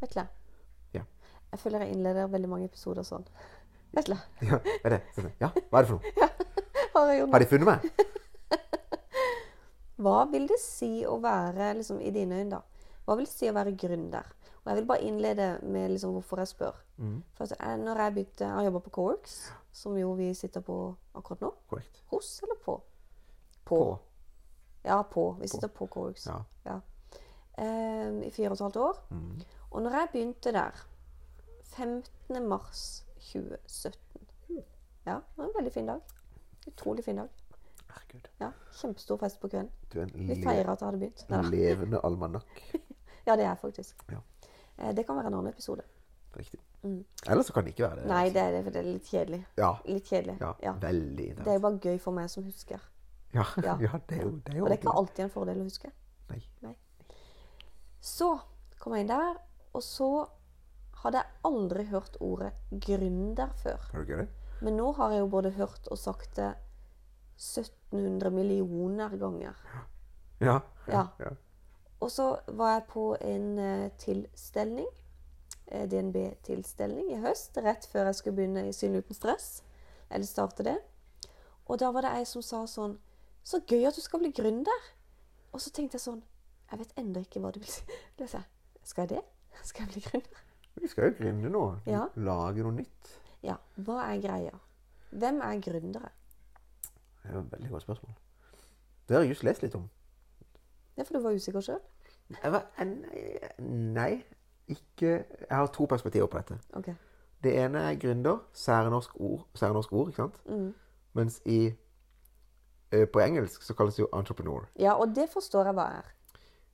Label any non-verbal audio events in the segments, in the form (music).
Vetle. Ja. Jeg føler jeg innleder veldig mange episoder sånn. Vetle. Ja, er det? Sånn, ja, hva er det for noe? Har jeg gjort Har de funnet meg? Hva vil det si å være, liksom, i dine øyne, da? Hva vil det si å være gründer? Og jeg vil bare innlede med liksom, hvorfor jeg spør. Mhm. For at jeg, når jeg begynte å jobbe på Coworks, som jo vi sitter på akkurat nå Korrekt. Hos eller på? På. Ja, på. Vi sitter på Coworks. Ja. Ehm, I fire og et halvt år. Mhm. Og når jeg begynte der 15. mars 2017 Ja, det var en veldig fin dag. Utrolig fin dag. Herregud. Ja, Kjempestor fest på kvelden. Du er en, Vi le feira at jeg hadde begynt. Neida. en levende almanakk. Ja, det er jeg faktisk. Ja. Eh, Det kan være en annen episode. Riktig. Mm. Eller så kan det ikke være det. Nei, det er det, for det er litt kjedelig. Ja. Litt kjedelig. ja. Ja. Veldig Det er intenst. jo bare gøy for meg som husker. Ja. Ja. (laughs) ja, det er jo det. Er jo Og det er ikke ordentlig. alltid en fordel å huske. Nei. Så kom jeg inn der, og så hadde jeg aldri hørt ordet gründer før. Har du ikke det? Men nå har jeg jo både hørt og sagt det 1700 millioner ganger. Ja. Ja. ja. Og så var jeg på en eh, tilstelning, eh, DNB-tilstelning, i høst, rett før jeg skulle begynne i Synd uten stress, eller starte det. Og da var det ei som sa sånn Så gøy at du skal bli gründer! Og så tenkte jeg sånn Jeg vet ennå ikke hva det vil si. (laughs) Da sa jeg, Skal jeg det? Skal jeg bli gründer? Vi skal jo grinde nå. Ja. Lage noe nytt. Ja. Hva er greia? Hvem er gründere? Det er jo et veldig godt spørsmål. Det har jeg just lest litt om. Det er for du var usikker sjøl? Jeg var, nei, nei, ikke Jeg har to perspektiver på dette. OK. Det ene er gründer, særnorsk ord, særnorsk ord ikke sant? Mens i, eh, på engelsk så kalles det jo entrepreneur. Ja, og det forstår jeg hva er.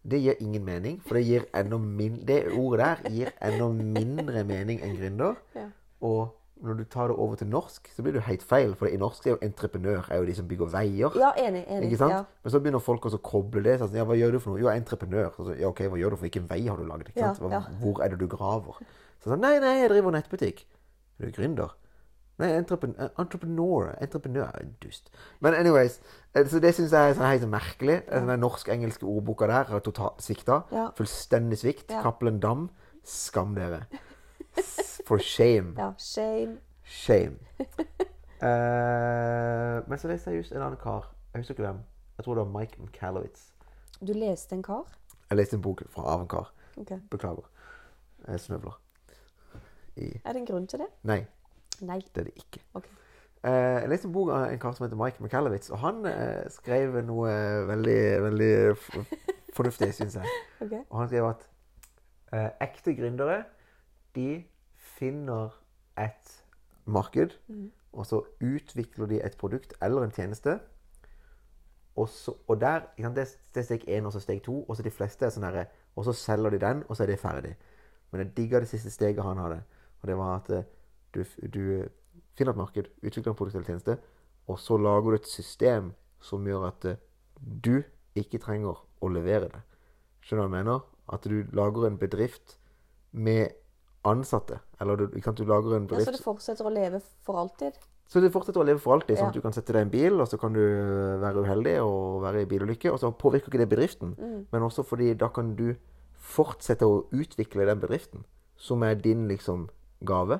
Det gir ingen mening, for det, gir enda min, det ordet der gir enda mindre mening enn gründer. Ja. Og når du tar det over til norsk, så blir det jo helt feil, for i norsk er jo entreprenør er jo de som bygger veier. Ja, enig. enig. Ikke sant? Ja. Men så begynner folk også å koble det. Sånn, ja, hva gjør du for noe? Jo, jeg er entreprenør. Så, sånn, ja, ok, hva gjør du for hvilken vei har du lagd? Ikke Ja, sant? Hva, ja. Hvor er det du graver? Så, sånn, nei, nei, jeg driver nettbutikk. Er du gründer? Nei, entrepen eh, entreprenør. Entreprenør er dust. Men anyways, eh, så det syns jeg er sånn helt merkelig. Eh, Den der norsk-engelske ordboka der har totalt svikta. Ja. Fullstendig svikt. Ja. Cappelen Dam. Skam dere. S- For shame. ja. Shame. Shame. (laughs) Eh, men så leste jeg just en annen kar. Jeg husker ikke hvem. Jeg tror det var Mike McAllowitz. Du leste en kar? Jeg leste en bok fra av en kar. Ok. Beklager. Jeg snøvler. I Er det en grunn til det? Nei, Nei. det er det ikke. Ok. Eh, jeg leste en bok av en kar som heter Mike McAllowitz, og han eh, skrev noe veldig, veldig f- fornuftig, syns jeg. Ok. Og han skrev at eh, ekte gründere, de finner et marked, og så utvikler de et produkt eller en tjeneste. Og, så, og der, ikke sant, det, det er steg én og så steg to, og så de fleste er sånn derre Og så selger de den, og så er det ferdig. Men jeg digga det siste steget han hadde. Og det var at eh, du, du eh, finner et marked, utvikler en produkt eller tjeneste, og så lager du et system som gjør at eh, du ikke trenger å levere det. Skjønner du hva jeg mener? At du lager en bedrift med ansatte. Eller du, ikke sant, du lager en Ja, så bedrift det fortsetter å leve for alltid? så du fortsetter å leve for alltid. Sånn at Ja. du kan sette deg i en bil, og så kan du øh, være uheldig og være i bilulykke. Og så påvirker ikke det bedriften, Mm. men også fordi da kan du fortsette å utvikle den bedriften, som er din liksom gave.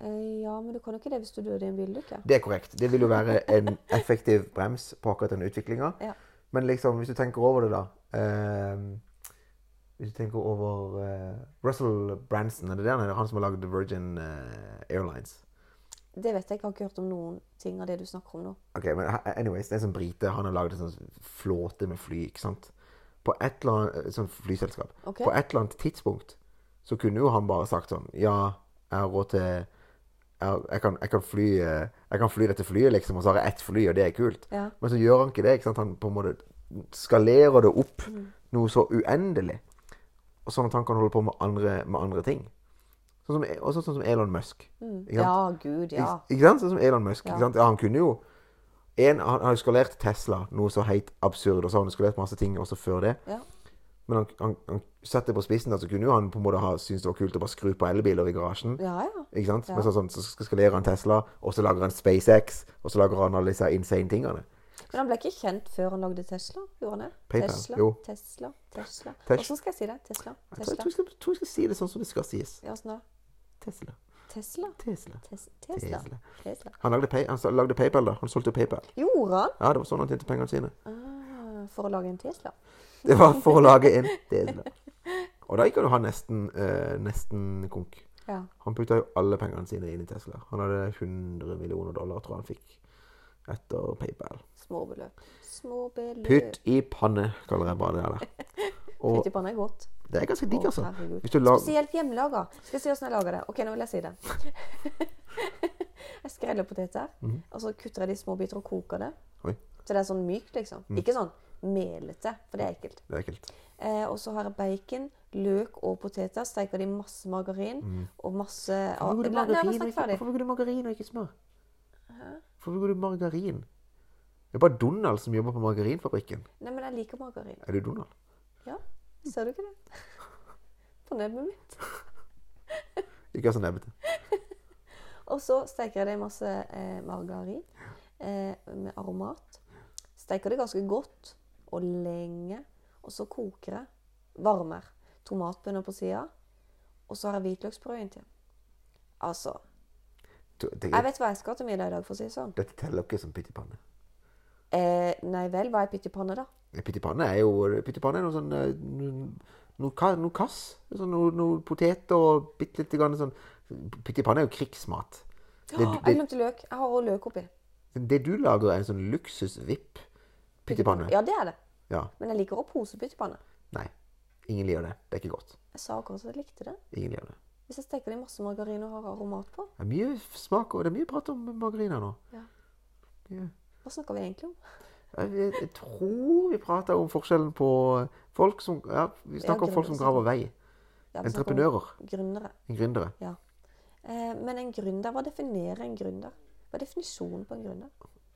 Eh, ja, men du kan jo ikke det hvis du døde i en bilulykke. Det er korrekt. Det vil jo være (laughs) en effektiv brems på akkurat den utviklinga. Ja. Men liksom, hvis du tenker over det, da eh, Hvis du tenker over eh, Russell Branson, er det det han heter? Han som har lagd Virgin eh, Airlines. Det vet jeg, jeg har ikke hørt om noen ting av det du snakker om nå. Ok, men he- anyways, det er en sånn brite, han har laget en sånn flåte med fly, ikke sant? På et eller annet, sånn flyselskap. Ok. På et eller annet tidspunkt, så kunne jo han bare sagt sånn, ja, jeg har råd til, jeg, jeg, kan, jeg, kan fly, eh, jeg kan fly dette flyet liksom, og så har jeg ett fly, og det er kult. Ja. Men så gjør han ikke det, ikke sant? Han på en måte skalerer det opp Mm. noe så uendelig, og sånn at han kan holde på med andre, med andre ting. Sånn som, også sånn som Elon Musk. ikke sant? Ja, gud, ja. Ikke, ikke sant? Sånn som Elon Musk. Ja. Ikke sant? Ja, han kunne jo en, Han har jo skalert Tesla, noe så helt absurd, og så har han skalert masse ting også før det. ja. Men han, han, han satte det på spissen, da, så kunne jo han på en måte ha syntes det var kult å bare skru på elbiler i garasjen. Ja, ja. Ikke sant? Ja. Men så, sånn, så skal skalerer han Tesla, og så lager han SpaceX, og så lager han alle disse insane tingene. Men han ble ikke kjent før han lagde Tesla? Gjorde han det? PayPal, Tesla, jo. Tesla, Tesla. Tes- Hvordan skal jeg si det? Tesla, Jeg tror jeg, tror Tesla. jeg, skal, tror jeg skal si det sånn som det skal sies. Ja, sånn da. Tesla. Tesla? Tesla. Tes Tesla. Tesla. Tesla. Han lagde, pay, han sa- lagde PayPal, da. Han solgte PayPal. Gjorde han? Ja, det var sånn han tjente pengene sine. Ah, for å lage en Tesla? Det var for å lage en Tesla. Og da gikk jo han nesten, eh, nesten konk. Ja. Han putta jo alle pengene sine inn i Tesla. Han hadde 100 millioner dollar, tror jeg han fikk, etter PayPal. Småbeløp. Småbeløp. Pytt i panne, kaller jeg bare det der. Og Pytt i panna er godt. det er ganske digg, Å, altså. herregud. Hvis du lager Spesielt hjemmelaga. Skal jeg si hvordan jeg lager det? Ok, nå vil jeg si det. (laughs) jeg skreller poteter, og så kutter jeg det i små biter og koker det. Mhm. Oi, Mm. Så det er sånn mykt, liksom. Ikke sånn melete, for det er ekkelt. det er ekkelt. Eh, og så har jeg bacon, løk og poteter. Steker de i masse margarin og masse Hvorfor bruker Mm. du La- La meg margarin og snakke ikke- ferdig. hvorfor bruker du margarin og ikke smør? Hvorfor bruker du margarin? Det er bare Donald som jobber på margarinfabrikken. Nei, men jeg liker margarin. Er du Donald? Ja, ser du ikke det? På nebbet mitt. Ikke så nebbete. Og så steker jeg det i masse eh, margarin eh, med aromat. Steker det ganske godt og lenge. Og så koker jeg. Varmer. Tomatbønner på sida. Og så har jeg hvitløksbrød inntil. Altså Du- det- Jeg vet hva jeg skal til middag i dag, for å si det sånn. Dette teller ikke som pytt i panne. Eh, nei vel, hva er pytt i panne, da? Pytt i panne er jo Pytt i panne er noe sånn eh, no- Noe ka- noe kass. Sånn, noe, noe potet og bitte lite grann sånn Pytt i panne er jo krigsmat. Det, Åh, Ah, jeg det, glemte løk. Jeg har også løk oppi. det du lager, er en sånn luksusvipp. Pytt i panne. Ja, det er det. Ja. Men jeg liker å pose pytt i panne. Nei. Ingen liker det. Det er ikke godt. Jeg sa akkurat at jeg likte det. Ingen liker det. Hvis jeg steker det i masse margarin og har aromat på. Det er mye smak og det er mye prat om margarin her nå. Ja. Ja. Hva snakker vi egentlig om? Jeg, jeg, jeg tror vi prater om forskjellen på eh, folk som ja, Vi snakker om folk som graver vei. Ja, vi snakker om Entreprenører. Gründere. Gründere. Ja. Eh, men en gründer, hva definerer en gründer? Hva er definisjonen på en gründer?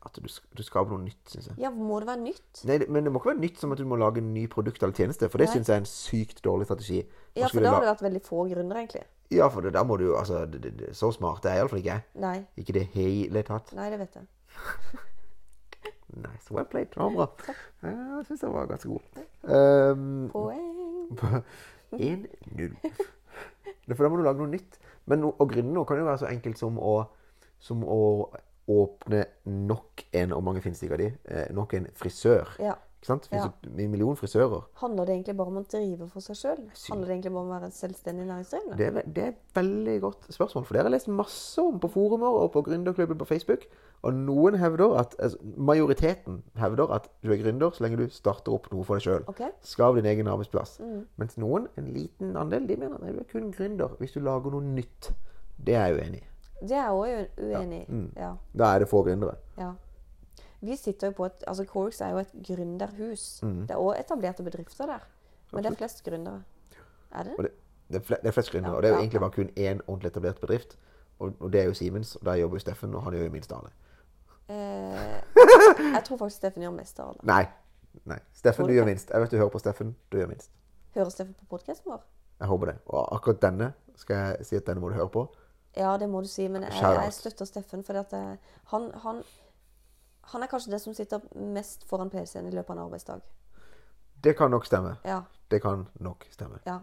At du, sk- du skaper noe nytt, syns jeg. Ja, må det være nytt? Nei, det- men det må ikke være nytt som at du må lage en ny produkt eller tjeneste, for det Nei. syns jeg er en sykt dårlig strategi. Nå Ja, for skulle da la- har det vært veldig få gründere, egentlig. ja, for det, da må du jo altså, det, det, det, Så smart er jeg iallfall ikke. jeg. Nei. Ikke det hele tatt. Nei, det vet jeg. Nice. Well played. Det var bra. Ja, Jeg syns den var ganske god. (laughs) Um, Poeng. på 1-0. Det er For da må du lage noe nytt. Men å å grunne noe kan jo være så enkelt som å, som å åpne nok en, og mange finnes det ikke av de, eh, nok en frisør. Ja. Ikke sant? Det Ja. finnes jo en million frisører. Handler det egentlig bare om å drive for seg sjøl? Handler det egentlig bare om å være en selvstendig næringsdrivende? Det er, ve- det er et veldig godt spørsmål, for dere har lest masse om på forumer og på gründerklubben på Facebook, og noen hevder at, altså, majoriteten hevder at du er gründer så lenge du starter opp noe for deg selv. Ok. Mm. Skav din egen arbeidsplass. Mens noen, en liten andel, de mener at du er kun gründer hvis du lager noe nytt. Det er jeg uenig i. Det er jeg òg uenig i. Ja. mm. Da er det få gründere. Ja. Vi sitter jo på et, altså Corix er jo et gründerhus. Det er også etablerte bedrifter der. Men det er flest gründere. Er det? Og det, det, er fle- det er flest gründere, og det er jo egentlig bare kun én ordentlig etablert bedrift. Og, og det er jo Siemens, og der jobber jo Steffen, og han gjør jo minst av det. Eh, jeg tror faktisk Steffen gjør mest av alle. Nei. Nei. Steffen, Tror du du gjør det? minst. Jeg vet du hører på Steffen, du gjør minst. Hører Steffen på podkasten vår? Jeg håper det. Og akkurat denne skal jeg si at denne må du høre på. Ja, det må du si, men jeg, Shout out. jeg støtter Steffen. For at eh, han, han, han er kanskje det som sitter mest foran PC-en i løpet av en arbeidsdag. Det kan nok stemme. Ja. Det kan nok stemme. ja.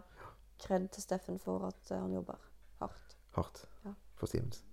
Kred til Steffen for at eh, han jobber hardt. Hardt. Ja. For Siemens.